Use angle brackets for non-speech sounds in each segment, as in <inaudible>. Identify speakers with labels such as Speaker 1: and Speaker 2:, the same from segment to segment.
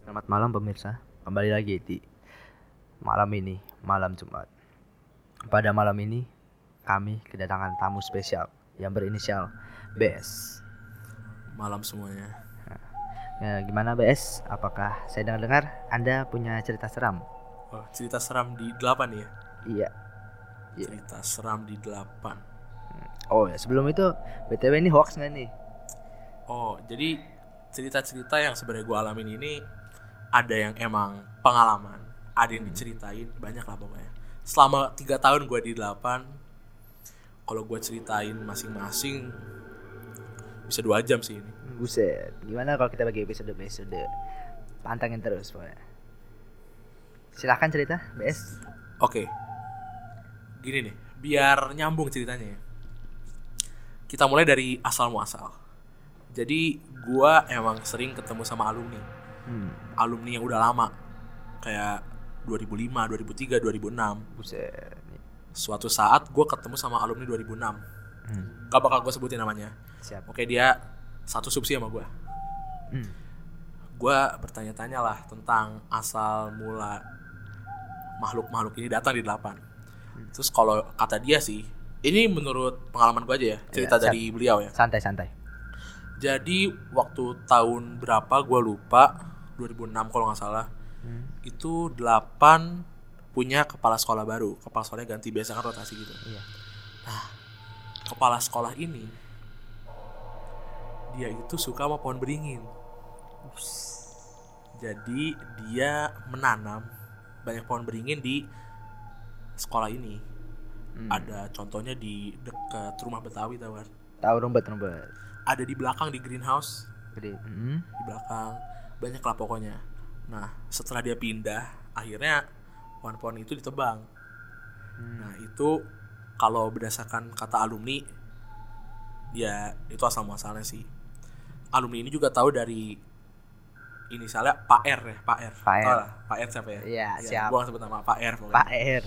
Speaker 1: Selamat malam pemirsa, kembali lagi di malam ini, malam Jumat. Pada malam ini, kami kedatangan tamu spesial yang berinisial BS.
Speaker 2: malam semuanya
Speaker 1: Eh, gimana BS? Apakah saya dengar-dengar Anda punya cerita seram?
Speaker 2: Wah, cerita seram di delapan ya
Speaker 1: Iya. Iya.
Speaker 2: cerita seram di delapan
Speaker 1: Oh ya, sebelum itu BTW ini hoax nggak nih?
Speaker 2: oh jadi cerita-cerita yang sebenarnya gue alamin ini ada yang emang pengalaman ada yang diceritain banyak lah pokoknya selama tiga tahun gue di delapan kalau gue ceritain masing-masing bisa dua jam sih ini
Speaker 1: Buset. Gimana kalau kita bagi episode-episode? Pantangin terus pokoknya. Silahkan cerita, BS.
Speaker 2: Oke. Gini nih, biar nyambung ceritanya ya. Kita mulai dari asal muasal. Jadi gua emang sering ketemu sama alumni.
Speaker 1: Hmm,
Speaker 2: Alumni yang udah lama. Kayak 2005, 2003, 2006.
Speaker 1: buset.
Speaker 2: Suatu saat gua ketemu sama alumni 2006.
Speaker 1: Hmm,
Speaker 2: Gak bakal gue sebutin namanya.
Speaker 1: siap.
Speaker 2: Oke, dia satu subsi sama gua.
Speaker 1: Hmm,
Speaker 2: Gua bertanya-tanya lah tentang asal mula makhluk-makhluk ini datang di delapan.
Speaker 1: Hmm.
Speaker 2: Terus kalau kata dia sih, ini menurut pengalaman gua aja ya,
Speaker 1: Iya,
Speaker 2: cerita
Speaker 1: siap.
Speaker 2: dari beliau ya.
Speaker 1: santai-santai.
Speaker 2: Jadi waktu tahun berapa gua lupa, 2006 kalau nggak salah,
Speaker 1: Hmm.
Speaker 2: itu delapan punya kepala sekolah baru. Kepala sekolahnya ganti biasa kan rotasi gitu.
Speaker 1: Iya.
Speaker 2: Kepala sekolah ini dia itu suka sama pohon beringin. Jadi dia menanam banyak pohon beringin di sekolah ini.
Speaker 1: Hmm.
Speaker 2: Ada contohnya di dekat rumah Betawi tau kan.
Speaker 1: Tahu rumput rumput.
Speaker 2: Ada di belakang di greenhouse,
Speaker 1: Gede. Hmm.
Speaker 2: di belakang banyak lah pokoknya. Nah setelah dia pindah, akhirnya pohon-pohon itu ditebang.
Speaker 1: Hmm.
Speaker 2: Nah itu kalau berdasarkan kata alumni, ya itu asal muasalnya sih. Alumni ini juga tahu dari inisialnya Pak R ya, Pak R.
Speaker 1: Pak R.
Speaker 2: Tahu lah, Pak R siapa ya?
Speaker 1: Iya,
Speaker 2: Ya,
Speaker 1: siap.
Speaker 2: Gua nggak sebut nama Pak R pokoknya.
Speaker 1: Pak R.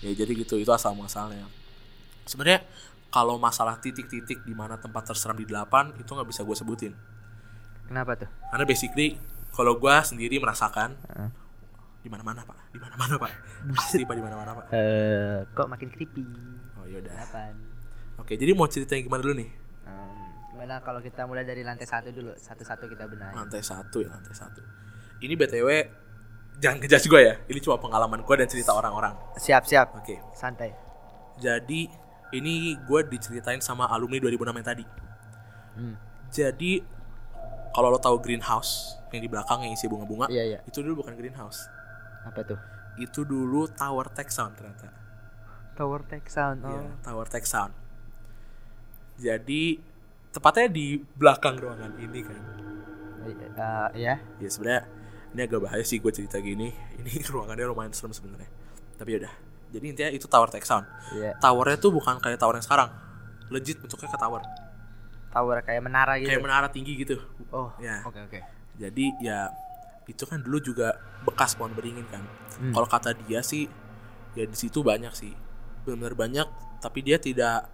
Speaker 2: Ya jadi gitu itu asal muasalnya. Sebenarnya kalau masalah titik-titik di mana tempat terseram di delapan itu nggak bisa gue sebutin.
Speaker 1: Kenapa tuh?
Speaker 2: Karena basically kalau gue sendiri merasakan
Speaker 1: Heeh.
Speaker 2: di mana-mana pak, di mana-mana pak, pasti pak di mana-mana pak.
Speaker 1: Eh, kok makin creepy.
Speaker 2: Oh yaudah.
Speaker 1: Kapan?
Speaker 2: Oke jadi mau cerita yang gimana dulu nih?
Speaker 1: Hmm. gimana kalau kita mulai dari lantai satu dulu? Satu-satu kita benahi.
Speaker 2: lantai satu ya lantai satu ini btw jangan ngejudge gue ya ini cuma pengalaman gue dan cerita orang-orang
Speaker 1: Siap, siap.
Speaker 2: oke
Speaker 1: Santai.
Speaker 2: jadi ini gue diceritain sama alumni 2006 yang tadi
Speaker 1: Hmm.
Speaker 2: jadi kalau lo tahu greenhouse yang di belakang yang isi bunga-bunga
Speaker 1: Iya, iya.
Speaker 2: itu dulu bukan greenhouse
Speaker 1: Apa tuh?
Speaker 2: itu dulu tower tech sound ternyata
Speaker 1: Tower Tech Sound. Oh.
Speaker 2: Iya, tower tech sound jadi tepatnya di belakang ruangan ini kan
Speaker 1: Eh, iya.
Speaker 2: ya sebenarnya ini agak bahaya sih gue cerita gini <laughs> ini ruangannya lumayan serem sebenarnya tapi ya udah jadi intinya itu tower take sound
Speaker 1: Iya.
Speaker 2: towernya tuh bukan kayak tower yang sekarang legit bentuknya kayak tower
Speaker 1: Tower kayak menara gitu.
Speaker 2: kayak menara tinggi gitu
Speaker 1: oh.
Speaker 2: ya
Speaker 1: Oke, oke.
Speaker 2: jadi ya itu kan dulu juga bekas pohon beringin kan
Speaker 1: Hmm.
Speaker 2: kalau kata dia sih ya di situ banyak sih benar-benar banyak tapi dia tidak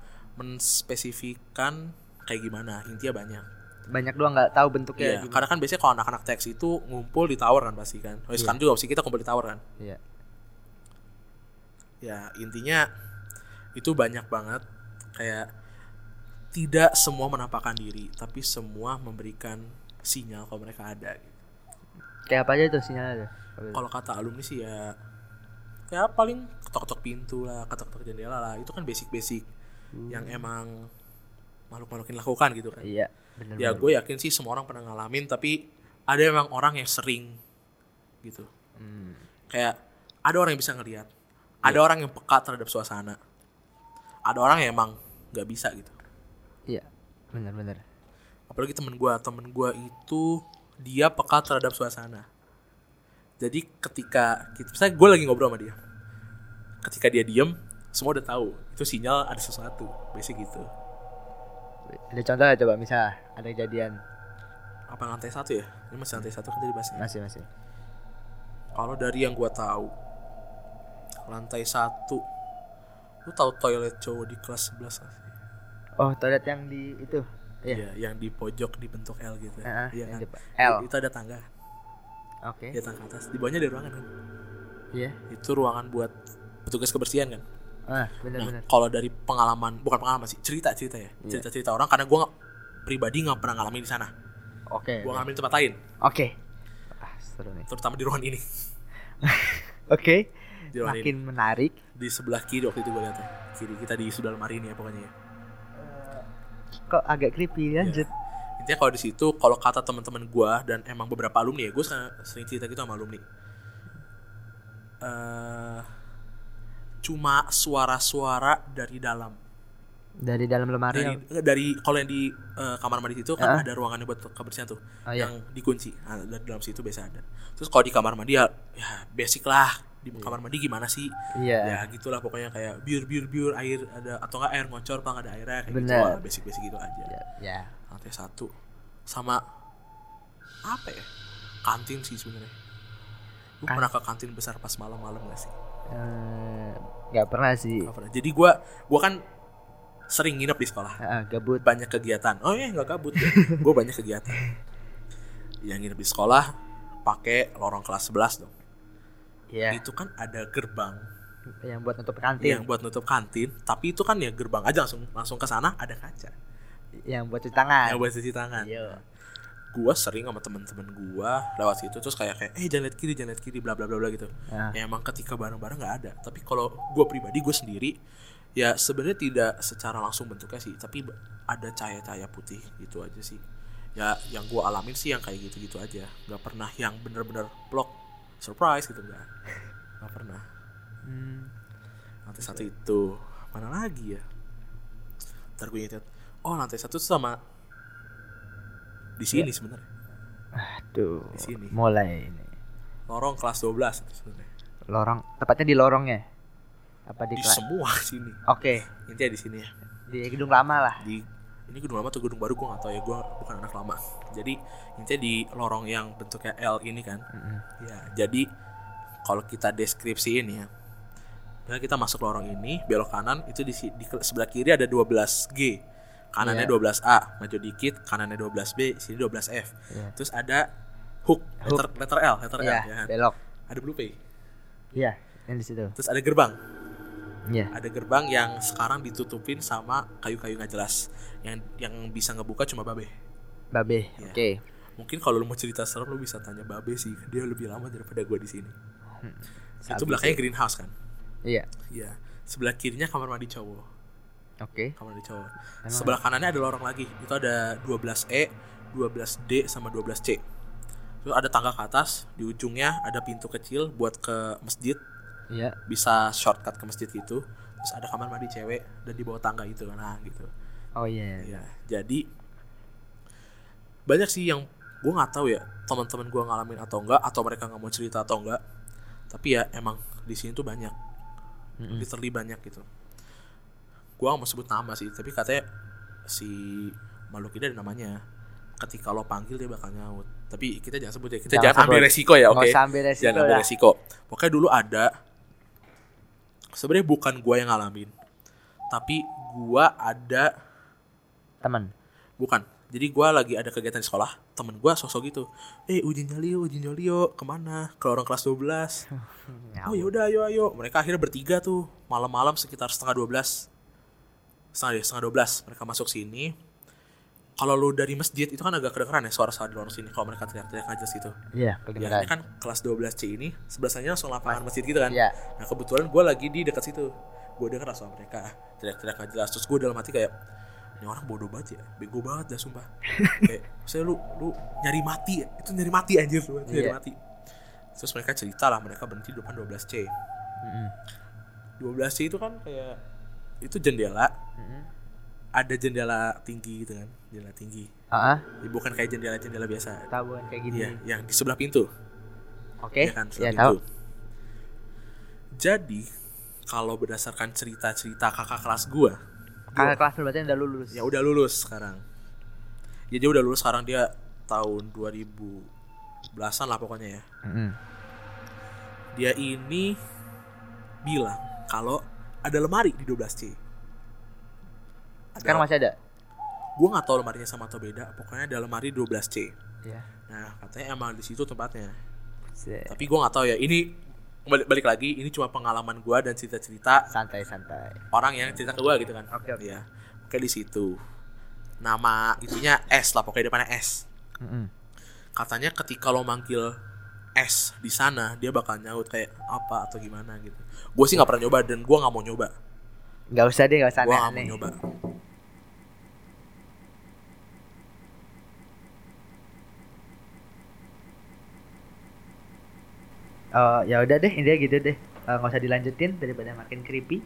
Speaker 2: menspesifikkan kayak gimana intinya banyak
Speaker 1: Banyak doang nggak tahu bentuknya
Speaker 2: Iya,
Speaker 1: gimana.
Speaker 2: karena kan biasanya kalau anak-anak teks itu ngumpul di tower kan pasti kan. Oh,
Speaker 1: Iya.
Speaker 2: sekarang juga pasti kita kumpul di tower kan.
Speaker 1: Iya.
Speaker 2: Ya, intinya itu banyak banget kayak tidak semua menampakkan diri, tapi semua memberikan sinyal kalau mereka ada. gitu.
Speaker 1: Kayak apa aja tuh sinyalnya tuh?
Speaker 2: Kalau kata alumni sih ya ya paling ketok-ketok pintu lah, ketok-ketok jendela lah. Itu kan basic-basic yang emang makhluk-makhluk ini lakukan gitu kan.
Speaker 1: Iya, bener.
Speaker 2: Ya,
Speaker 1: bener.
Speaker 2: gue yakin sih semua orang pernah ngalamin, tapi ada emang orang yang sering gitu.
Speaker 1: Hmm.
Speaker 2: kayak ada orang yang bisa ngelihat ada orang yang peka terhadap suasana ada orang yang emang nggak bisa gitu
Speaker 1: Iya. Bener-bener.
Speaker 2: apalagi temen gua temen gua itu dia peka terhadap suasana jadi ketika kita misalnya gue lagi ngobrol sama dia ketika dia diem semua udah tahu itu sinyal ada sesuatu basic gitu
Speaker 1: Ada contohnya coba misal ada kejadian
Speaker 2: apa lantai satu ya ini masih lantai satu kan tadi bahasnya
Speaker 1: masih masih.
Speaker 2: Kalau dari yang gua tahu lantai satu, lu tahu toilet cowok di kelas 11 gak sih?
Speaker 1: Oh toilet yang di itu. Iya.
Speaker 2: Iya, yang di pojok dibentuk L gitu.
Speaker 1: Heeh,
Speaker 2: iya
Speaker 1: yang
Speaker 2: kan?
Speaker 1: di- L. Iya.
Speaker 2: Itu ada tangga.
Speaker 1: Oke.
Speaker 2: di atas ke atas di bawahnya ada ruangan kan
Speaker 1: Iya.
Speaker 2: itu ruangan buat petugas kebersihan kan
Speaker 1: Ah,
Speaker 2: Nah,
Speaker 1: benar-benar.
Speaker 2: kalau dari pengalaman, bukan pengalaman sih, cerita-cerita ya.
Speaker 1: Iya.
Speaker 2: Cerita-cerita orang karena gue pribadi nggak pernah ngalamin di sana.
Speaker 1: Oke.
Speaker 2: Gue ngalamin di tempat lain,
Speaker 1: Oke. Ah, seru nih.
Speaker 2: terutama di ruangan ini. <laughs>
Speaker 1: Oke.
Speaker 2: Di ruangan ini.
Speaker 1: Makin menarik.
Speaker 2: Di sebelah kiri waktu itu gue lihat Kiri kita di sudah lemari ini ya pokoknya ya.
Speaker 1: Kok agak creepy lanjut.
Speaker 2: Iya. Intinya kalau di situ, kalau kata teman-teman gue dan emang beberapa alumni ya, gue sering cerita gitu sama alumni. eh cuma suara-suara dari dalam.
Speaker 1: Dari dalam lemari.
Speaker 2: Dari,
Speaker 1: yang-
Speaker 2: nggak, dari kalau yang di eh, kamar mandi situ kan
Speaker 1: Ah.
Speaker 2: ada ruangannya buat kebersihan tuh.
Speaker 1: Oh iya.
Speaker 2: yang dikunci nah, dari dalam situ biasa ada terus kalau di kamar mandi ya, ya basic lah di kamar mandi gimana sih
Speaker 1: Iya.
Speaker 2: ya gitulah pokoknya kayak biur biur biur air ada atau enggak air ngocor apa nggak ada airnya kayak
Speaker 1: Bener.
Speaker 2: gitu basic basic gitu aja
Speaker 1: Ya. ya.
Speaker 2: lantai satu sama apa ya kantin sih sebenarnya lu
Speaker 1: Kan-
Speaker 2: pernah ke kantin besar pas malam-malam gak sih
Speaker 1: Eh, nggak pernah sih.
Speaker 2: Nggak pernah jadi gua gua kan sering nginep di sekolah
Speaker 1: Ah, ah, gabut.
Speaker 2: banyak kegiatan oh ya nggak kabut
Speaker 1: <laughs>
Speaker 2: gue banyak kegiatan yang nginep di sekolah pakai lorong kelas 11 dong
Speaker 1: Iya.
Speaker 2: itu kan ada gerbang
Speaker 1: Yang buat nutup
Speaker 2: yang
Speaker 1: kantin.
Speaker 2: buat nutup kantin tapi itu kan ya gerbang aja langsung langsung ke sana ada kaca
Speaker 1: Yang buat cuci tangan.
Speaker 2: Iya. yang buat cuci tangan
Speaker 1: Kan. Iya.
Speaker 2: gue sering sama temen-temen gue lewat situ terus kayak kayak eh jangan lihat kiri jangan lihat kiri bla bla bla bla gitu
Speaker 1: Ah.
Speaker 2: ya emang ketika bareng-bareng nggak ada tapi kalau gue pribadi gue sendiri ya sebenarnya tidak secara langsung bentuknya sih tapi b- ada cahaya-cahaya putih gitu aja sih ya yang gue alamin sih yang kayak gitu-gitu aja nggak pernah yang bener-bener plok surprise gitu nggak nggak pernah
Speaker 1: Hmm.
Speaker 2: lantai satu itu mana lagi ya ntar gue ingat oh lantai satu tuh sama di sini
Speaker 1: Iya.
Speaker 2: sebenarnya
Speaker 1: Aduh.
Speaker 2: Di sini.
Speaker 1: Mulai ini.
Speaker 2: lorong kelas 12 itu sebenarnya
Speaker 1: Lorong. Tepatnya di lorongnya. Apa di
Speaker 2: di
Speaker 1: kelas? Oke.
Speaker 2: semua <laughs> sini intinya di sini ya
Speaker 1: Di gedung lama lah.
Speaker 2: di ini gedung lama atau gedung baru gue gak tau ya gue bukan anak lama jadi intinya di lorong yang bentuknya L ini kan
Speaker 1: Mm-mm.
Speaker 2: ya jadi kalau kita deskripsiin ya nah kita masuk lorong ini belok kanan itu di, si- di ke- sebelah kiri ada 12G kanannya
Speaker 1: Iya.
Speaker 2: 12A maju dikit kanannya 12B sini 12F
Speaker 1: Iya.
Speaker 2: terus ada Ya. hook letter, letter L letter
Speaker 1: Iya.
Speaker 2: L ya kan?
Speaker 1: Belok.
Speaker 2: ada blue pay
Speaker 1: Iya. Yang di situ.
Speaker 2: terus ada gerbang
Speaker 1: Iya.
Speaker 2: ada gerbang yang sekarang ditutupin sama kayu-kayu nggak jelas yang yang bisa ngebuka cuma babe
Speaker 1: Babe.
Speaker 2: Iya.
Speaker 1: Oke.
Speaker 2: mungkin kalau lu mau cerita serem lu bisa tanya babe sih dia lebih lama daripada gua di sini itu
Speaker 1: Sabi
Speaker 2: belakangnya
Speaker 1: sih.
Speaker 2: greenhouse kan
Speaker 1: Iya.
Speaker 2: iya sebelah kirinya kamar mandi cowok
Speaker 1: Oke.
Speaker 2: kamar mandi cowok
Speaker 1: Emang-
Speaker 2: sebelah kanannya ada lorong lagi itu ada E, 12E 12D sama 12C terus ada tangga ke atas di ujungnya ada pintu kecil buat ke masjid
Speaker 1: Iya.
Speaker 2: bisa shortcut ke masjid gitu terus ada kamar mandi cewek dan di bawah tangga itu nah gitu
Speaker 1: Oh iya.
Speaker 2: ya jadi banyak sih yang gue nggak tahu ya teman-teman gue ngalamin atau enggak atau mereka nggak mau cerita atau enggak tapi ya emang di sini tuh banyak
Speaker 1: Mm-mm.
Speaker 2: literally banyak gitu gue nggak mau sebut nama sih tapi katanya si makhluk ini ada namanya ketika lo panggil dia bakal nyaut tapi kita jangan sebut ya kita
Speaker 1: Jangan
Speaker 2: jangan, ambil
Speaker 1: sebut.
Speaker 2: resiko ya oke
Speaker 1: Nggak usah ambil resiko
Speaker 2: jangan ambil
Speaker 1: lah.
Speaker 2: resiko pokoknya dulu ada sebenarnya bukan gue yang ngalamin tapi gue ada
Speaker 1: Temen.
Speaker 2: Bukan. Jadi gua lagi ada kegiatan di sekolah, temen gua sosok gitu. Eh ujian nyalio, ujian nyalio, kemana? Ke orang kelas 12. Oh
Speaker 1: Nyaut. Iya,
Speaker 2: yaudah ayo ayo. Mereka akhirnya bertiga tuh, malam-malam sekitar setengah 12. Setengah, setengah 12, mereka masuk sini. Kalau lu dari masjid itu kan agak kedengeran ya suara-suara di luar sini. Kalau mereka teriak-teriak aja gitu.
Speaker 1: Iya.
Speaker 2: Biasanya
Speaker 1: Kedengeran.
Speaker 2: kan kelas 12C ini, sebelahnya langsung lapangan masjid gitu kan.
Speaker 1: Iya.
Speaker 2: Nah kebetulan gue lagi di dekat situ Gue denger lah sama mereka Teriak-teriak gak jelas Terus gue dalam hati kayak Ini orang bodoh banget ya Bego banget dah
Speaker 1: <laughs>
Speaker 2: sumpah Kayak Saya lu, lu nyari mati ya Itu nyari mati anjir lu Nyari
Speaker 1: Iya.
Speaker 2: mati Terus mereka cerita lah Mereka berhenti di depan 12C
Speaker 1: Mm-mm.
Speaker 2: 12C itu kan kayak Itu jendela
Speaker 1: Mm-mm.
Speaker 2: Ada jendela tinggi gitu kan Jendela tinggi
Speaker 1: Ah, ah.
Speaker 2: Ya, Bukan kayak jendela-jendela biasa
Speaker 1: tabuan kayak gini.
Speaker 2: Iya, yang di sebelah pintu
Speaker 1: Hmm. Oke.
Speaker 2: ya
Speaker 1: Iya
Speaker 2: kan seperti
Speaker 1: tahu.
Speaker 2: itu. Jadi kalau berdasarkan cerita-cerita kakak kelas gua,
Speaker 1: Kakak kelas lu berarti udah lulus.
Speaker 2: Iya. ya udah lulus sekarang. Ya dia udah lulus sekarang dia tahun 2000 belasan lah pokoknya ya.
Speaker 1: Mm-mm.
Speaker 2: Dia ini bilang kalau ada lemari di 12C.
Speaker 1: Sekarang
Speaker 2: Ada,
Speaker 1: masih ada.
Speaker 2: gua nggak tahu lemarinya sama atau beda, pokoknya ada lemari 12C.
Speaker 1: Iya.
Speaker 2: Nah, katanya emang di situ tempatnya.
Speaker 1: Se-
Speaker 2: Tapi gue nggak tahu ya. Ini balik, balik lagi, ini cuma pengalaman gue dan cerita-cerita
Speaker 1: Santai-santai.
Speaker 2: orang yang cerita ke gue gitu kan.
Speaker 1: Oke, oke.
Speaker 2: Iya. Oke di situ. Nama itunya S lah, pokoknya depannya S.
Speaker 1: Mm-mm.
Speaker 2: Katanya ketika lo manggil S di sana, dia bakal nyaut kayak apa atau gimana gitu. Gue sih nggak pernah nyoba dan gue nggak mau nyoba.
Speaker 1: Gak usah deh, gak usah
Speaker 2: Gue nggak mau
Speaker 1: aneh-aneh.
Speaker 2: nyoba.
Speaker 1: Eh, ya udah deh, intinya gitu deh. Eh, Nggak usah dilanjutin daripada makin creepy.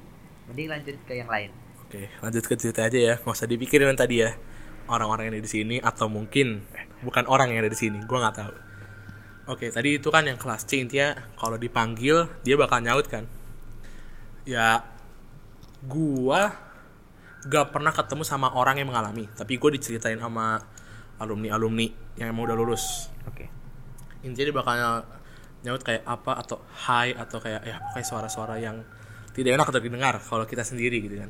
Speaker 1: Mending lanjut ke yang lain.
Speaker 2: Oke, lanjut ke cerita aja ya. Nggak usah dipikirin yang tadi ya. Orang-orang yang ada di sini atau mungkin eh, bukan orang yang ada di sini. Gua nggak tahu. Oke, tadi itu kan yang kelas C intinya kalau dipanggil dia bakal nyaut kan. Ya, gua gak pernah ketemu sama orang yang mengalami. Tapi gue diceritain sama alumni-alumni yang emang udah lulus
Speaker 1: Oke.
Speaker 2: intinya dia bakal nyaut kayak apa atau hi atau kayak ya pokoknya suara-suara yang tidak enak untuk didengar kalau kita sendiri gitu kan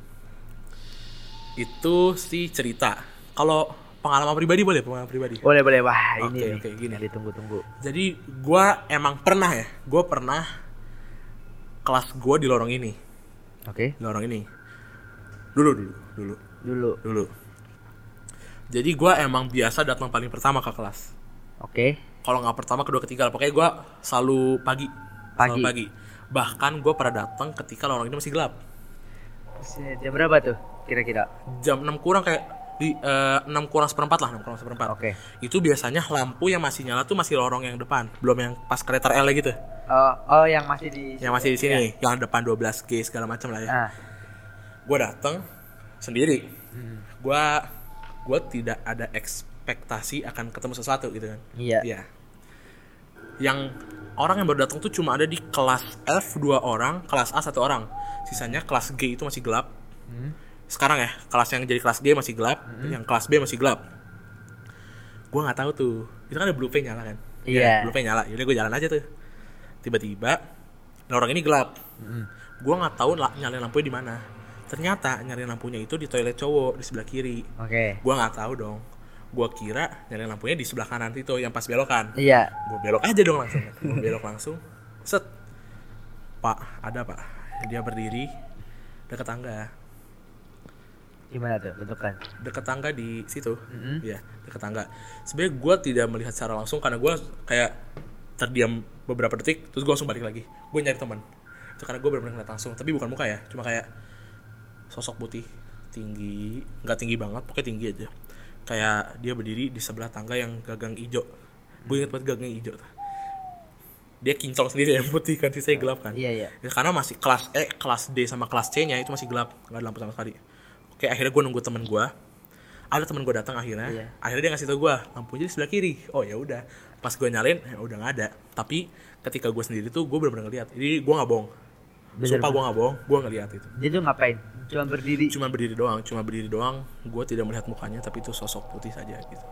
Speaker 2: itu sih cerita kalau pengalaman pribadi boleh pengalaman pribadi
Speaker 1: Boleh, boleh. Wah, ini
Speaker 2: Oke,
Speaker 1: nih
Speaker 2: oke, gini.
Speaker 1: yang ditunggu-tunggu.
Speaker 2: jadi gua emang pernah ya gua pernah kelas gua di lorong ini
Speaker 1: Oke.
Speaker 2: di lorong ini dulu dulu dulu
Speaker 1: Dulu.
Speaker 2: dulu jadi gua emang biasa datang paling pertama ke kelas
Speaker 1: Oke.
Speaker 2: kalau nggak pertama kedua ketiga lah. pokoknya gue selalu pagi
Speaker 1: Pagi.
Speaker 2: Selalu pagi bahkan gue pernah datang ketika lorong ini masih gelap
Speaker 1: Se- Jam berapa tuh? Kira-kira.
Speaker 2: jam 6 kurang kayak di eh, 6 kurang seperempat lah 6 kurang seperempat
Speaker 1: Oke.
Speaker 2: itu biasanya lampu yang masih nyala tuh masih lorong yang depan belum yang pas kereta L gitu
Speaker 1: Eh, oh, yang masih di
Speaker 2: yang masih di sini yang depan 12G segala macam lah ya
Speaker 1: Iya. Ah,
Speaker 2: gue datang sendiri gue gue tidak ada ekspektasi akan ketemu sesuatu gitu kan
Speaker 1: iya.
Speaker 2: Iya. Yang orang yang baru datang tuh cuma ada di kelas F dua orang, kelas A satu orang. Sisanya kelas G itu masih gelap.
Speaker 1: Hmm.
Speaker 2: Sekarang ya, kelas yang jadi kelas G masih gelap, yang kelas B masih gelap. Gua nggak tahu tuh. Itu kan ada blue P nyala kan?
Speaker 1: Iya.
Speaker 2: Blue P nyala. Yaudah gue jalan aja tuh. Tiba-tiba lorong ini gelap. Gua nggak tahu la- nyalain lampunya di mana. Ternyata nyalain lampunya itu di toilet cowok di sebelah kiri.
Speaker 1: Oke.
Speaker 2: Gua nggak tahu dong. Gua kira nyalain lampunya di sebelah kanan itu yang pas belokan
Speaker 1: Iya.
Speaker 2: gue belok aja dong langsung gue belok langsung set pak ada pak dia berdiri deket tangga
Speaker 1: Gimana tuh bentukan?
Speaker 2: deket tangga di situ
Speaker 1: Mm-mm.
Speaker 2: ya deket tangga sebenarnya gue tidak melihat secara langsung karena gue kayak terdiam beberapa detik terus gue langsung balik lagi gue nyari teman itu karena gue benar-benar ngeliat langsung tapi bukan muka ya cuma kayak sosok putih tinggi nggak tinggi banget pokoknya tinggi aja kayak dia berdiri di sebelah tangga yang gagang ijo gue inget banget gagangnya ijo tuh. dia kinclong sendiri <laughs> yang putih kan sisanya gelap kan
Speaker 1: Iya, iya.
Speaker 2: Ya, karena masih kelas E, kelas D sama kelas C nya itu masih gelap, nggak ada lampu sama sekali. Oke, akhirnya gue nunggu temen gue. Ada temen gue datang akhirnya.
Speaker 1: Iya.
Speaker 2: Akhirnya dia ngasih tau gue, lampunya di sebelah kiri. Oh ya udah. Pas gue nyalain, ya udah nggak ada. Tapi ketika gue sendiri tuh gue bener-bener ngeliat. Jadi gue nggak bohong.
Speaker 1: Bener
Speaker 2: Sumpah gue nggak bohong, gue ngeliat itu.
Speaker 1: Dia tuh ngapain? Cuma berdiri.
Speaker 2: Cuma berdiri doang, cuma berdiri doang. Gue tidak melihat mukanya, tapi itu sosok putih saja gitu.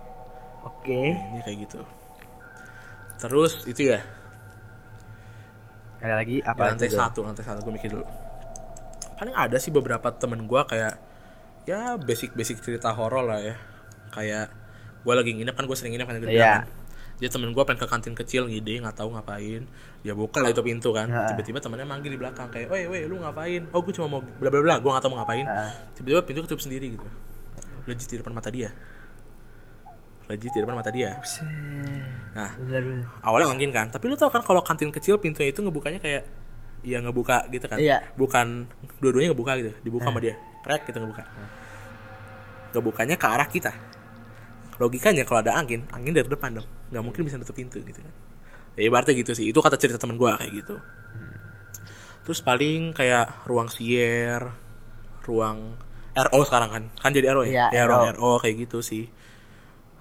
Speaker 1: Oke.
Speaker 2: Ini kayak gitu. Terus itu ya,
Speaker 1: Ada lagi
Speaker 2: Ya,
Speaker 1: apa?
Speaker 2: lantai
Speaker 1: tuh?
Speaker 2: satu lantai satu gue mikir dulu paling ada sih beberapa temen gue kayak ya basic basic cerita horor lah ya kayak gue lagi nginep kan gue sering nginep kan yang gue
Speaker 1: Iya.
Speaker 2: bilang kan. jadi temen gue pengen ke kantin kecil ngide nggak tahu ngapain dia buka lah itu pintu kan
Speaker 1: Heeh.
Speaker 2: tiba-tiba temennya manggil di belakang kayak weh weh lu ngapain oh gue cuma mau bla bla bla gue nggak tahu mau ngapain
Speaker 1: Heeh.
Speaker 2: tiba-tiba pintu ketutup sendiri gitu legit di depan mata dia legit di depan mata dia nah
Speaker 1: Bener, bener.
Speaker 2: awalnya mungkin kan tapi lu tau kan kalau kantin kecil pintunya itu ngebukanya kayak ya ngebuka gitu kan
Speaker 1: Iya.
Speaker 2: bukan dua-duanya ngebuka gitu dibuka sama dia Prek gitu ngebuka ngebukanya ke arah kita logikanya kalau ada angin angin dari depan dong nggak mungkin bisa nutup pintu gitu kan ya ibaratnya gitu sih itu kata cerita temen gua kayak gitu terus paling kayak ruang sier ruang RO sekarang kan kan jadi RO
Speaker 1: Iya,
Speaker 2: ya, ya ruang
Speaker 1: RO.
Speaker 2: RO kayak gitu sih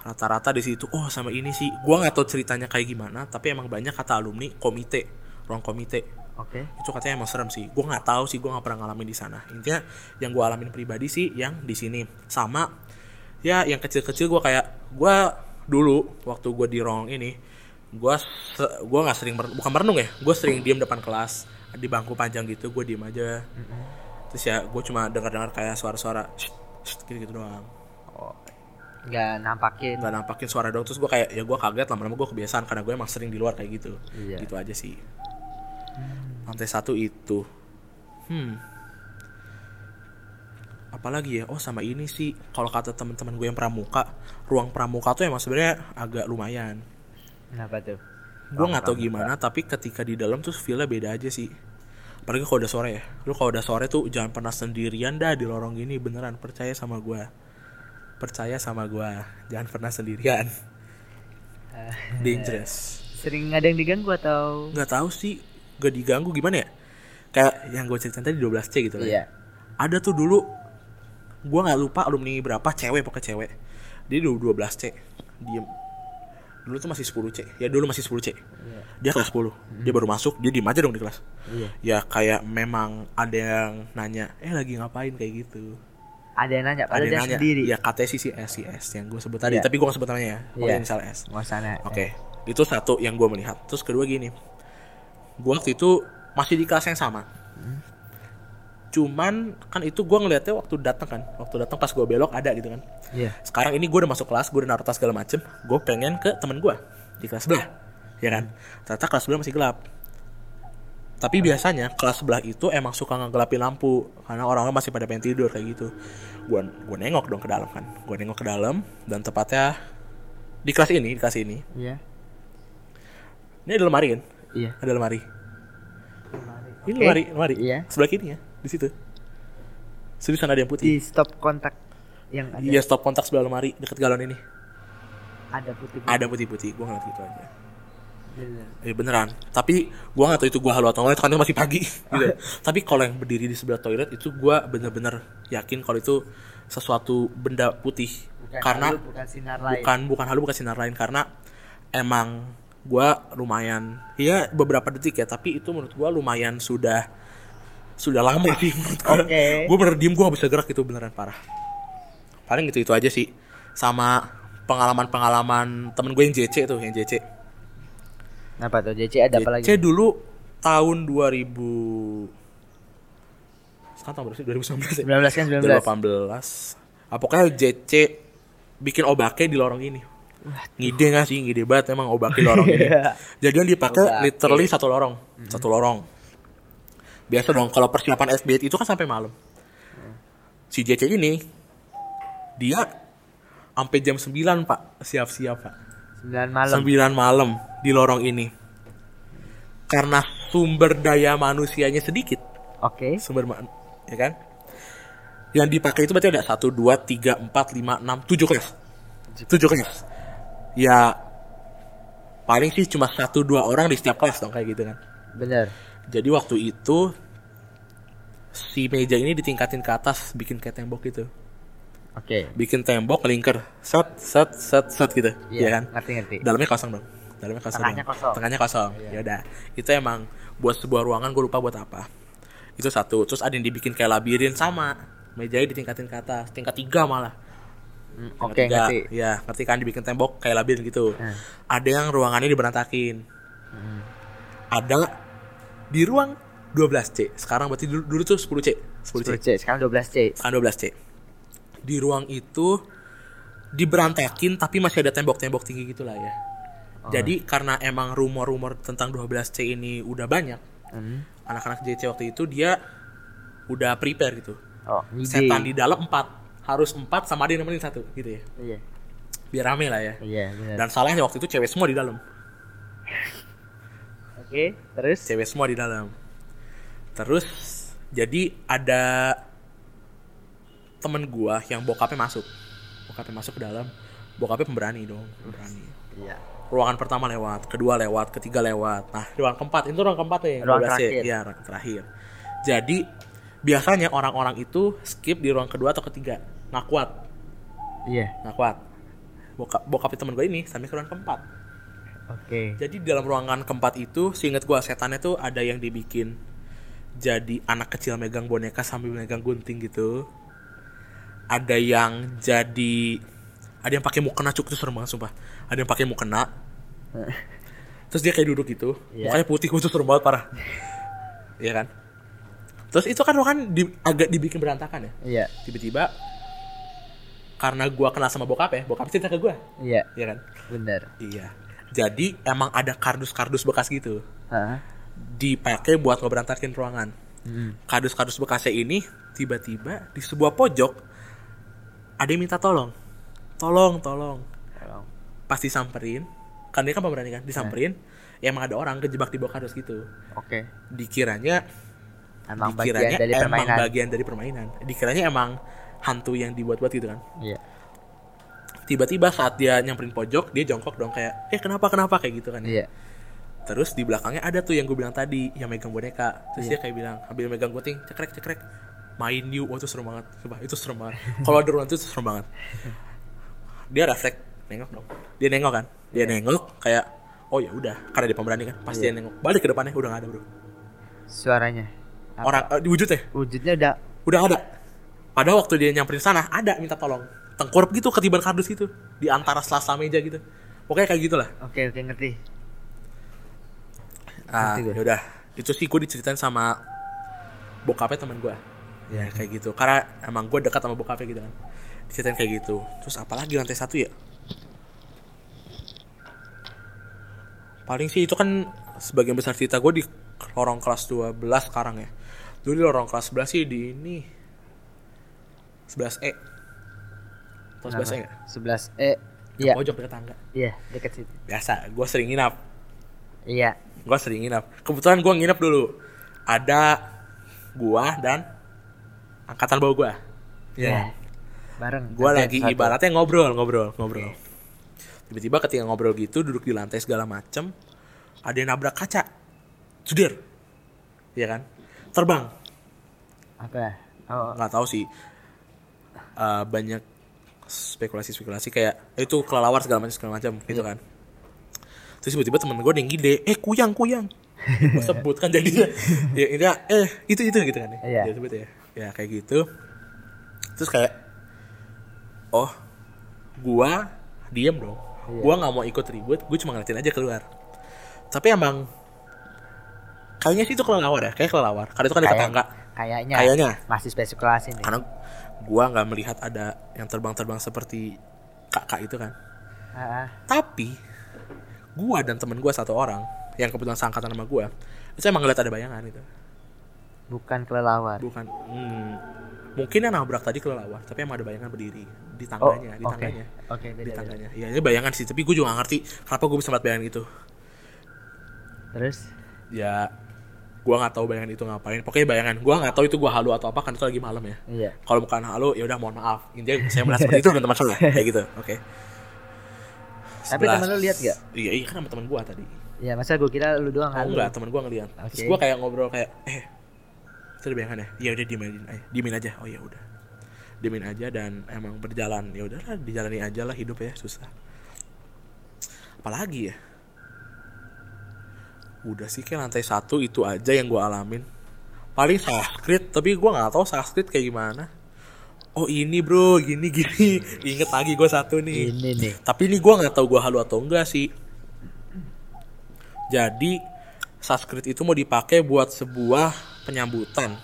Speaker 2: rata-rata di situ oh sama ini sih gua nggak tahu ceritanya kayak gimana tapi emang banyak kata alumni komite ruang komite
Speaker 1: Oke.
Speaker 2: itu katanya emang serem sih gua nggak tahu sih gua nggak pernah ngalamin di sana intinya yang gua alamin pribadi sih yang di sini sama ya yang kecil-kecil gua kayak gua dulu waktu gua di ruang ini gua se- gua nggak sering mer- bukan merenung ya gua sering diem depan kelas di bangku panjang gitu gue diem aja terus ya gue cuma dengar-dengar kayak suara-suara gitu gitu doang
Speaker 1: Oh. nggak nampakin
Speaker 2: nggak nampakin suara dong terus gue kayak ya gue kaget lama-lama gue kebiasaan karena gue emang sering di luar kayak gitu
Speaker 1: Iya.
Speaker 2: gitu aja sih lantai satu itu hmm apalagi ya oh sama ini sih kalau kata teman-teman gue yang pramuka ruang pramuka tuh emang sebenarnya agak lumayan
Speaker 1: kenapa tuh
Speaker 2: gue nggak tahu gimana tapi ketika di dalam tuh feel-nya beda aja sih apalagi kalau udah sore ya lu kalau udah sore tuh jangan pernah sendirian dah di lorong gini beneran percaya sama gue percaya sama gue jangan pernah sendirian
Speaker 1: Ah. Eh.
Speaker 2: dangerous
Speaker 1: sering ada yang diganggu atau
Speaker 2: nggak tahu sih gak diganggu gimana ya kayak yang gue ceritain tadi 12 c gitu lah ya.
Speaker 1: iya
Speaker 2: ada tuh dulu gue nggak lupa alumni berapa cewek pakai cewek dia dulu 12 c diem dulu tuh masih 10 c ya dulu masih 10 c dia kelas
Speaker 1: Hmm.
Speaker 2: 10 dia baru masuk dia diem aja dong di kelas
Speaker 1: Iya.
Speaker 2: ya kayak memang ada yang nanya eh lagi ngapain kayak gitu
Speaker 1: ada yang nanya
Speaker 2: ada
Speaker 1: padahal dia
Speaker 2: yang nanya
Speaker 1: sendiri
Speaker 2: ya katanya sih si S si S yang gue sebut tadi
Speaker 1: Iya.
Speaker 2: tapi gue nggak sebut namanya ya pokoknya
Speaker 1: Iya.
Speaker 2: inisial S
Speaker 1: nggak usah nanya.
Speaker 2: Oke, itu satu yang gue melihat. Terus kedua gini, gue waktu itu masih di kelas yang sama. Cuman kan itu gue ngeliatnya waktu datang kan, waktu datang pas gue belok ada gitu kan.
Speaker 1: iya
Speaker 2: Sekarang ini gue udah masuk kelas, gue udah naruh tas segala macem. Gue pengen ke temen gue di kelas sebelah, ya kan? Ternyata kelas sebelah masih gelap. Tapi biasanya kelas sebelah itu emang suka ngegelapin lampu karena orang-orang masih pada pengen tidur kayak gitu. Gue gue nengok dong ke dalam kan, gue nengok ke dalam dan tepatnya di kelas ini, di kelas ini
Speaker 1: iya
Speaker 2: ini ada lemari kan?
Speaker 1: iya
Speaker 2: Ada lemari. Ini
Speaker 1: Oke.
Speaker 2: lemari, lemari.
Speaker 1: Iya.
Speaker 2: Sebelah kiri ya, di situ. Terus di sana ada yang
Speaker 1: di
Speaker 2: putih.
Speaker 1: stop kontak yang ada
Speaker 2: Iya, stop kontak sebelah lemari dekat galon ini.
Speaker 1: ada putih
Speaker 2: Ada putih-putih, gua ngeliat gitu aja.
Speaker 1: Bener.
Speaker 2: Eh beneran. Tapi gua nggak tahu itu gua halu atau enggak, karena masih pagi <laughs> gitu. ya. Tapi kalau yang berdiri di sebelah toilet itu gua bener-bener yakin kalau itu sesuatu benda putih.
Speaker 1: Bukan
Speaker 2: karena
Speaker 1: halu, bukan sinar lain
Speaker 2: bukan bukan halu bukan sinar lain karena emang gua lumayan ya beberapa detik ya tapi itu menurut gua lumayan sudah sudah lama sih menurut gua
Speaker 1: <laughs> Oke.
Speaker 2: Gua bener diem gua gak bisa gerak itu beneran parah paling gitu itu aja sih sama pengalaman pengalaman temen gue yang JC tuh yang JC
Speaker 1: apa tuh JC ada apa lagi
Speaker 2: JC dulu tahun 2000 sekarang tahun berapa sih 2019 ya?
Speaker 1: 19 kan 19
Speaker 2: 2018. Ah, pokoknya JC bikin obaknya di lorong ini. Ngide gak sih? Ngide banget emang obaknya di lorong
Speaker 1: <laughs>
Speaker 2: ini. Jadi yang dipakai
Speaker 1: Iya. Obake. Mhm.
Speaker 2: literally satu lorong. Satu lorong. Biasa dong kalau persiapan SBT itu kan sampai malam. Si JC ini dia sampai jam 9, Pak. Siap-siap, Pak.
Speaker 1: 9 malam
Speaker 2: 9 malam di lorong ini. Karena sumber daya manusianya sedikit
Speaker 1: oke
Speaker 2: sumber ma- ya kan yang dipakai itu berarti ada satu dua tiga empat lima enam tujuh kelas tujuh kelas ya paling sih cuma satu dua orang di setiap kelas dong kayak gitu kan
Speaker 1: bener
Speaker 2: jadi waktu itu si meja ini ditingkatin ke atas bikin kayak tembok gitu
Speaker 1: oke
Speaker 2: bikin tembok lingker set set set set gitu ya
Speaker 1: iya
Speaker 2: kan
Speaker 1: ngerti ngerti
Speaker 2: dalamnya kosong dong dalamnya kosong
Speaker 1: Tengahnya
Speaker 2: dong.
Speaker 1: kosong. Iya.
Speaker 2: tengahnya kosong ya udah itu emang buat sebuah ruangan gue lupa buat apa itu satu terus ada yang dibikin kayak labirin sama mejanya ditingkatin ke atas tingkat tiga malah
Speaker 1: Hmm,
Speaker 2: Tingkat
Speaker 1: oke
Speaker 2: tiga.
Speaker 1: ngerti
Speaker 2: ya ngerti kan dibikin tembok kayak labirin gitu
Speaker 1: Hmm.
Speaker 2: ada yang ruangannya diberantakin ada di ruang 12C sekarang berarti dulu, dulu tuh 10C 10C
Speaker 1: 10 C sekarang 12 C
Speaker 2: sekarang 12C di ruang itu diberantakin tapi masih ada tembok-tembok tinggi gitu lah ya jadi karena emang rumor-rumor tentang 12C ini udah banyak
Speaker 1: Hmm.
Speaker 2: anak-anak JC waktu itu dia udah prepare gitu
Speaker 1: oh ngide
Speaker 2: setan di dalam empat harus empat sama ada yang nemenin satu gitu ya
Speaker 1: iya
Speaker 2: biar rame lah ya
Speaker 1: iya bener
Speaker 2: dan salahnya waktu itu cewek semua di dalam
Speaker 1: oke terus
Speaker 2: cewek semua di dalam terus jadi ada temen gua yang bokapnya masuk bokapnya masuk ke dalam bokapnya pemberani dong pemberani
Speaker 1: iya
Speaker 2: ruangan pertama lewat kedua lewat ketiga lewat nah ruangan keempat itu ruangan keempat ya
Speaker 1: Ruangan
Speaker 2: 12 ya?
Speaker 1: terakhir.
Speaker 2: Iya, ruangan terakhir jadi biasanya orang-orang itu skip di ruang kedua atau ketiga nah kuat
Speaker 1: iya
Speaker 2: nah kuat bokap bokapnya temen gue ini sampai ke ruangan keempat
Speaker 1: oke
Speaker 2: jadi di dalam ruangan keempat itu, seingat gua setannya tuh ada yang dibikin jadi anak kecil megang boneka sambil megang gunting gitu. Ada yang jadi ada yang pakai mukena cukup itu serem banget sumpah. Ada yang pakai mukena. Terus dia kayak duduk gitu,
Speaker 1: Iya.
Speaker 2: mukanya putih khusus serem banget parah. Iya kan? Terus itu kan ruangan di- agak dibikin berantakan ya.
Speaker 1: iya
Speaker 2: Tiba-tiba karena gua kenal sama bokap ya bokap cerita ke gua
Speaker 1: Iya,
Speaker 2: iya kan
Speaker 1: bener.
Speaker 2: iya jadi emang ada kardus-kardus bekas gitu
Speaker 1: Hah?
Speaker 2: dipakai buat ngeberantakin ruangan
Speaker 1: Hmm.
Speaker 2: kardus-kardus bekasnya ini tiba-tiba di sebuah pojok ada yang minta tolong tolong tolong
Speaker 1: Tolong.
Speaker 2: pas disamperin kan dia kan pemberani kan disamperin
Speaker 1: Eh.
Speaker 2: ya emang ada orang kejebak di bawah kardus gitu
Speaker 1: Oke.
Speaker 2: dikiranya
Speaker 1: Emang bagian
Speaker 2: dikiranya
Speaker 1: dari
Speaker 2: emang
Speaker 1: permainan.
Speaker 2: bagian dari permainan dikiranya emang hantu yang dibuat-buat gitu kan
Speaker 1: Iya.
Speaker 2: tiba-tiba saat dia nyamperin pojok dia jongkok dong kayak eh kenapa kenapa kayak gitu kan ya.
Speaker 1: Iya.
Speaker 2: terus di belakangnya ada tuh yang gue bilang tadi yang megang boneka terus dia kayak bilang ambil megang kucing cekrek cekrek main you oh itu serem banget Sumpah, itu serem banget kalau ada ruangan itu serem banget dia refleks nengok dong dia nengok kan dia nengok kayak oh ya udah karena dia pemberani kan pasti dia nengok balik ke depannya udah gak ada bro
Speaker 1: Suaranya. Apa?
Speaker 2: orang eh, di wujudnya
Speaker 1: Wujudnya udah
Speaker 2: udah ada pada waktu dia nyamperin sana ada minta tolong tengkurap gitu ketiban kardus gitu di antara selasa meja gitu pokoknya kayak gitulah
Speaker 1: oke oke ngerti.
Speaker 2: Ah,
Speaker 1: Ngerti gue.
Speaker 2: yaudah. Itu sih gue diceritain sama bokapnya teman gue.
Speaker 1: Iya.
Speaker 2: Ya kayak gitu. Karena emang gue dekat sama bokapnya gitu kan. Diceritain kayak gitu. Terus apalagi lantai satu ya? Paling sih itu kan sebagian besar cerita gue di lorong kelas 12 sekarang ya. Dulu di lorong kelas 11 sih di ini E. 11E. Atau 11E nggak?
Speaker 1: 11 E. Iya.
Speaker 2: Pojok dekat tangga.
Speaker 1: Iya, dekat situ.
Speaker 2: Biasa, gue sering nginap.
Speaker 1: Iya.
Speaker 2: gue sering nginap kebetulan gue nginap dulu ada gua dan angkatan bawah gua
Speaker 1: Iya. Bareng.
Speaker 2: gua
Speaker 1: Oke,
Speaker 2: lagi
Speaker 1: satu. Iya.
Speaker 2: ibaratnya ngobrol ngobrol ngobrol tiba-tiba ketika ngobrol gitu duduk di lantai segala macem ada yang nabrak kaca sudir Iya kan terbang
Speaker 1: apa? Oh,
Speaker 2: nggak tahu sih Eh, banyak spekulasi-spekulasi kayak "Eh, itu kelelawar segala macam segala macam gitu
Speaker 1: Iya.
Speaker 2: kan terus tiba-tiba temen gue ada yang gede eh kuyang kuyang gue sebut kan
Speaker 1: <laughs>
Speaker 2: jadinya ya ini eh itu itu gitu kan ya
Speaker 1: Iya.
Speaker 2: Dia sebut ya ya kayak gitu terus kayak oh gua diem
Speaker 1: Iya.
Speaker 2: dong gua nggak mau ikut ribut gue cuma ngeliatin aja keluar tapi emang kayaknya sih itu kelelawar ya kayak kelelawar karena itu kan di
Speaker 1: Kayak-
Speaker 2: tetangga
Speaker 1: kayaknya.
Speaker 2: Kayaknya. Anu.
Speaker 1: Masih spekulasi nih.
Speaker 2: karena gua nggak melihat ada yang terbang-terbang seperti kakak itu kan
Speaker 1: Heeh.
Speaker 2: tapi gua dan temen gua satu orang yang kebetulan seangkatan sama gua itu emang ngeliat ada bayangan itu
Speaker 1: bukan kelelawar.
Speaker 2: bukan hmm, mungkin yang nabrak tadi kelelawar tapi emang ada bayangan berdiri di tangganya di
Speaker 1: Oh, oke.
Speaker 2: tangganya
Speaker 1: Oke,
Speaker 2: di
Speaker 1: beda, beda.
Speaker 2: tangganya ya ini bayangan sih tapi gua juga gak ngerti kenapa gua bisa ngeliat bayangan itu
Speaker 1: Terus
Speaker 2: ya gua nggak tahu bayangan itu ngapain pokoknya bayangan gua nggak tahu itu gua halu atau apa kan itu lagi malam ya
Speaker 1: iya.
Speaker 2: kalau bukan halo ya udah mohon maaf intinya saya melihat seperti itu dan teman
Speaker 1: <laughs>
Speaker 2: saya kayak gitu oke
Speaker 1: Tapi
Speaker 2: Sebelas.
Speaker 1: temen lu lihat gak?
Speaker 2: iya iya kan sama teman gua tadi
Speaker 1: Ya, masa gue kira lu doang
Speaker 2: oh,
Speaker 1: kan.
Speaker 2: enggak teman gua ngeliat terus
Speaker 1: Oke.
Speaker 2: gua kayak ngobrol kayak eh itu ada bayangan ya ya udah diemin aja diemin aja oh ya udah diemin aja dan emang berjalan ya udahlah dijalani aja lah hidup ya susah apalagi ya udah sih kayak lantai satu itu aja yang gua alamin paling Sanskrit tapi gua nggak tahu Sanskrit kayak gimana oh ini bro gini gini inget lagi gua satu nih
Speaker 1: Ini nih.
Speaker 2: tapi ini gua nggak tahu gua halu atau enggak sih. Jadi Sanskrit itu mau dipakai buat sebuah penyambutan.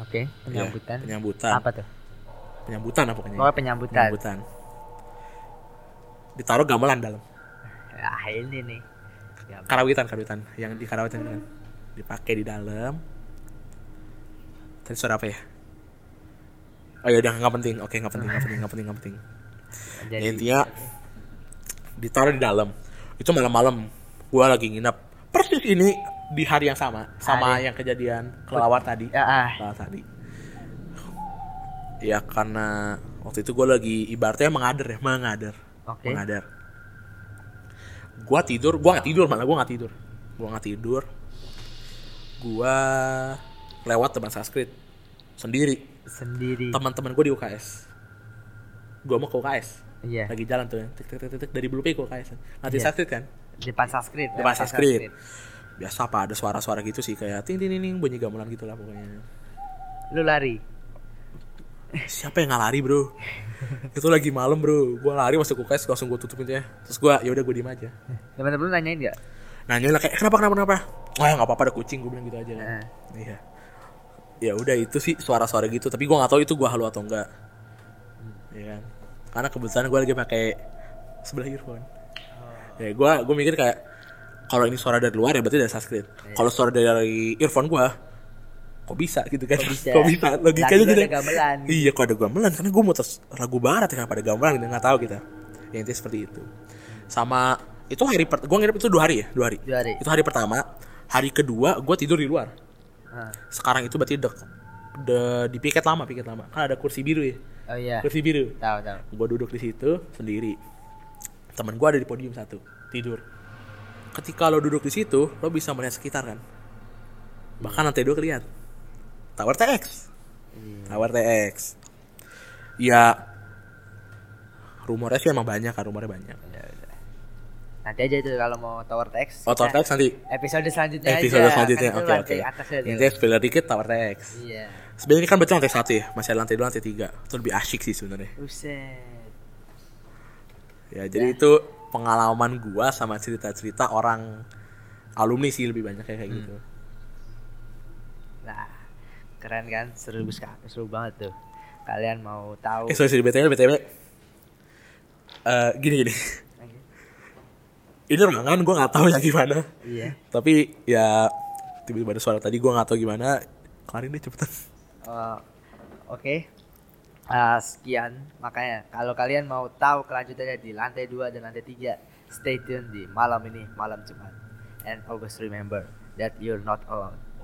Speaker 1: Oke,
Speaker 2: Ya,
Speaker 1: penyambutan.
Speaker 2: penyambutan.
Speaker 1: Apa tuh?
Speaker 2: Penyambutan apa pokoknya?
Speaker 1: Pokoknya penyambutan.
Speaker 2: Penyambutan. Ditaruh gamelan dalam.
Speaker 1: Ah, ini nih. Ya,
Speaker 2: Karawitan, karawitan. Yang di karawitan kan. Dipakai di dalam. Tadi suara apa ya? Oh ya udah nggak penting. Oke, nggak penting, nggak penting, nggak penting, nggak penting. Ya,
Speaker 1: jadi gitu
Speaker 2: intinya ditaruh di dalam itu malam-malam gua lagi nginep persis ini di hari yang sama sama yang kejadian kelawar tadi
Speaker 1: ya ah,
Speaker 2: kelawar tadi ya karena waktu itu gua lagi ibaratnya mengader ya mengader
Speaker 1: Oke.
Speaker 2: mengader gua tidur gua nggak tidur malah gua nggak tidur gua nggak tidur gua lewat teman sanskrit sendiri
Speaker 1: sendiri.
Speaker 2: teman-teman gua di UKS gua mau ke UKS
Speaker 1: Iya.
Speaker 2: lagi jalan tuh ya tik tik tik tik, tik dari Blue Pico kayak nanti
Speaker 1: Iya.
Speaker 2: sakit kan
Speaker 1: Depan Sanskrit.
Speaker 2: Depan Sanskrit. biasa apa ada suara-suara gitu sih kayak ting ting ting, ting bunyi gamelan gitu lah pokoknya
Speaker 1: Lu lari.
Speaker 2: siapa yang nggak lari
Speaker 1: <laughs>
Speaker 2: bro itu lagi malam bro gue lari masuk UKS langsung gue tutup pintunya terus gue ya udah gue diem aja
Speaker 1: Teman-teman lu nanyain gak?
Speaker 2: nanya lah Nah, kayak "Eh, kenapa kenapa kenapa wah nggak apa-apa ada kucing gue bilang gitu aja kan
Speaker 1: Heeh.
Speaker 2: iya
Speaker 1: Hmm.
Speaker 2: ya udah itu sih suara-suara gitu tapi gue nggak tahu itu gue halu atau enggak Iya kan karena kebetulan gue lagi pakai sebelah earphone
Speaker 1: Oh.
Speaker 2: ya gue gue mikir kayak kalau ini suara dari luar ya berarti dari subscribe
Speaker 1: Iya.
Speaker 2: kalau suara dari earphone gue kok bisa gitu kan
Speaker 1: Kok bisa?
Speaker 2: <laughs> kok bisa logikanya
Speaker 1: Lagi
Speaker 2: gitu
Speaker 1: ada gamelan.
Speaker 2: iya kok ada gamelan karena gue mau tes lagu barat ya pada gamelan gitu nggak tahu kita ya, intinya seperti itu sama itu hari per gue ngirim itu dua hari ya dua hari
Speaker 1: Dua hari.
Speaker 2: itu hari pertama hari kedua gue tidur di luar
Speaker 1: Ah.
Speaker 2: sekarang itu berarti dek de, di piket lama piket lama kan ada kursi biru ya
Speaker 1: Oh iya.
Speaker 2: kursi biru
Speaker 1: Tahu tahu.
Speaker 2: gue duduk di situ sendiri temen gue ada di podium satu tidur ketika lo duduk di situ lo bisa melihat sekitar kan bahkan nanti dua kelihatan tower TX
Speaker 1: Iya.
Speaker 2: tower TX ya rumornya sih emang banyak kan rumornya banyak
Speaker 1: Udah, Ya, udah. Nanti aja itu kalau mau Tower TX.
Speaker 2: oh tower
Speaker 1: kita
Speaker 2: TX nanti
Speaker 1: Episode selanjutnya
Speaker 2: episode
Speaker 1: aja.
Speaker 2: selanjutnya
Speaker 1: Kan itu
Speaker 2: oke oke
Speaker 1: lantai atasnya tuh.
Speaker 2: intinya spoiler dikit tower TX
Speaker 1: Iya.
Speaker 2: sebenarnya ini kan berarti lantai satu ya masih ada lantai dua lantai tiga itu lebih asyik sih sebenarnya
Speaker 1: Buset.
Speaker 2: Ya, jadi itu pengalaman gua sama cerita-cerita orang alumni sih lebih banyak kayak kayak gitu.
Speaker 1: Nah, keren kan? Seru bes- seru banget tuh. Kalian mau tahu?
Speaker 2: Eh, sorry, sorry, BTW, BTW. Eh, gini <laughs> gini. Ini ruangan gua nggak tahu ya gimana.
Speaker 1: Iya.
Speaker 2: Tapi ya tiba-tiba ada suara tadi gua nggak tahu gimana. Kelarin deh cepetan.
Speaker 1: Eh, Oke. Eh, sekian makanya kalau kalian mau tahu kelanjutannya di lantai 2 dan lantai 3 stay tune di malam ini malam Jumat and always remember that you're not alone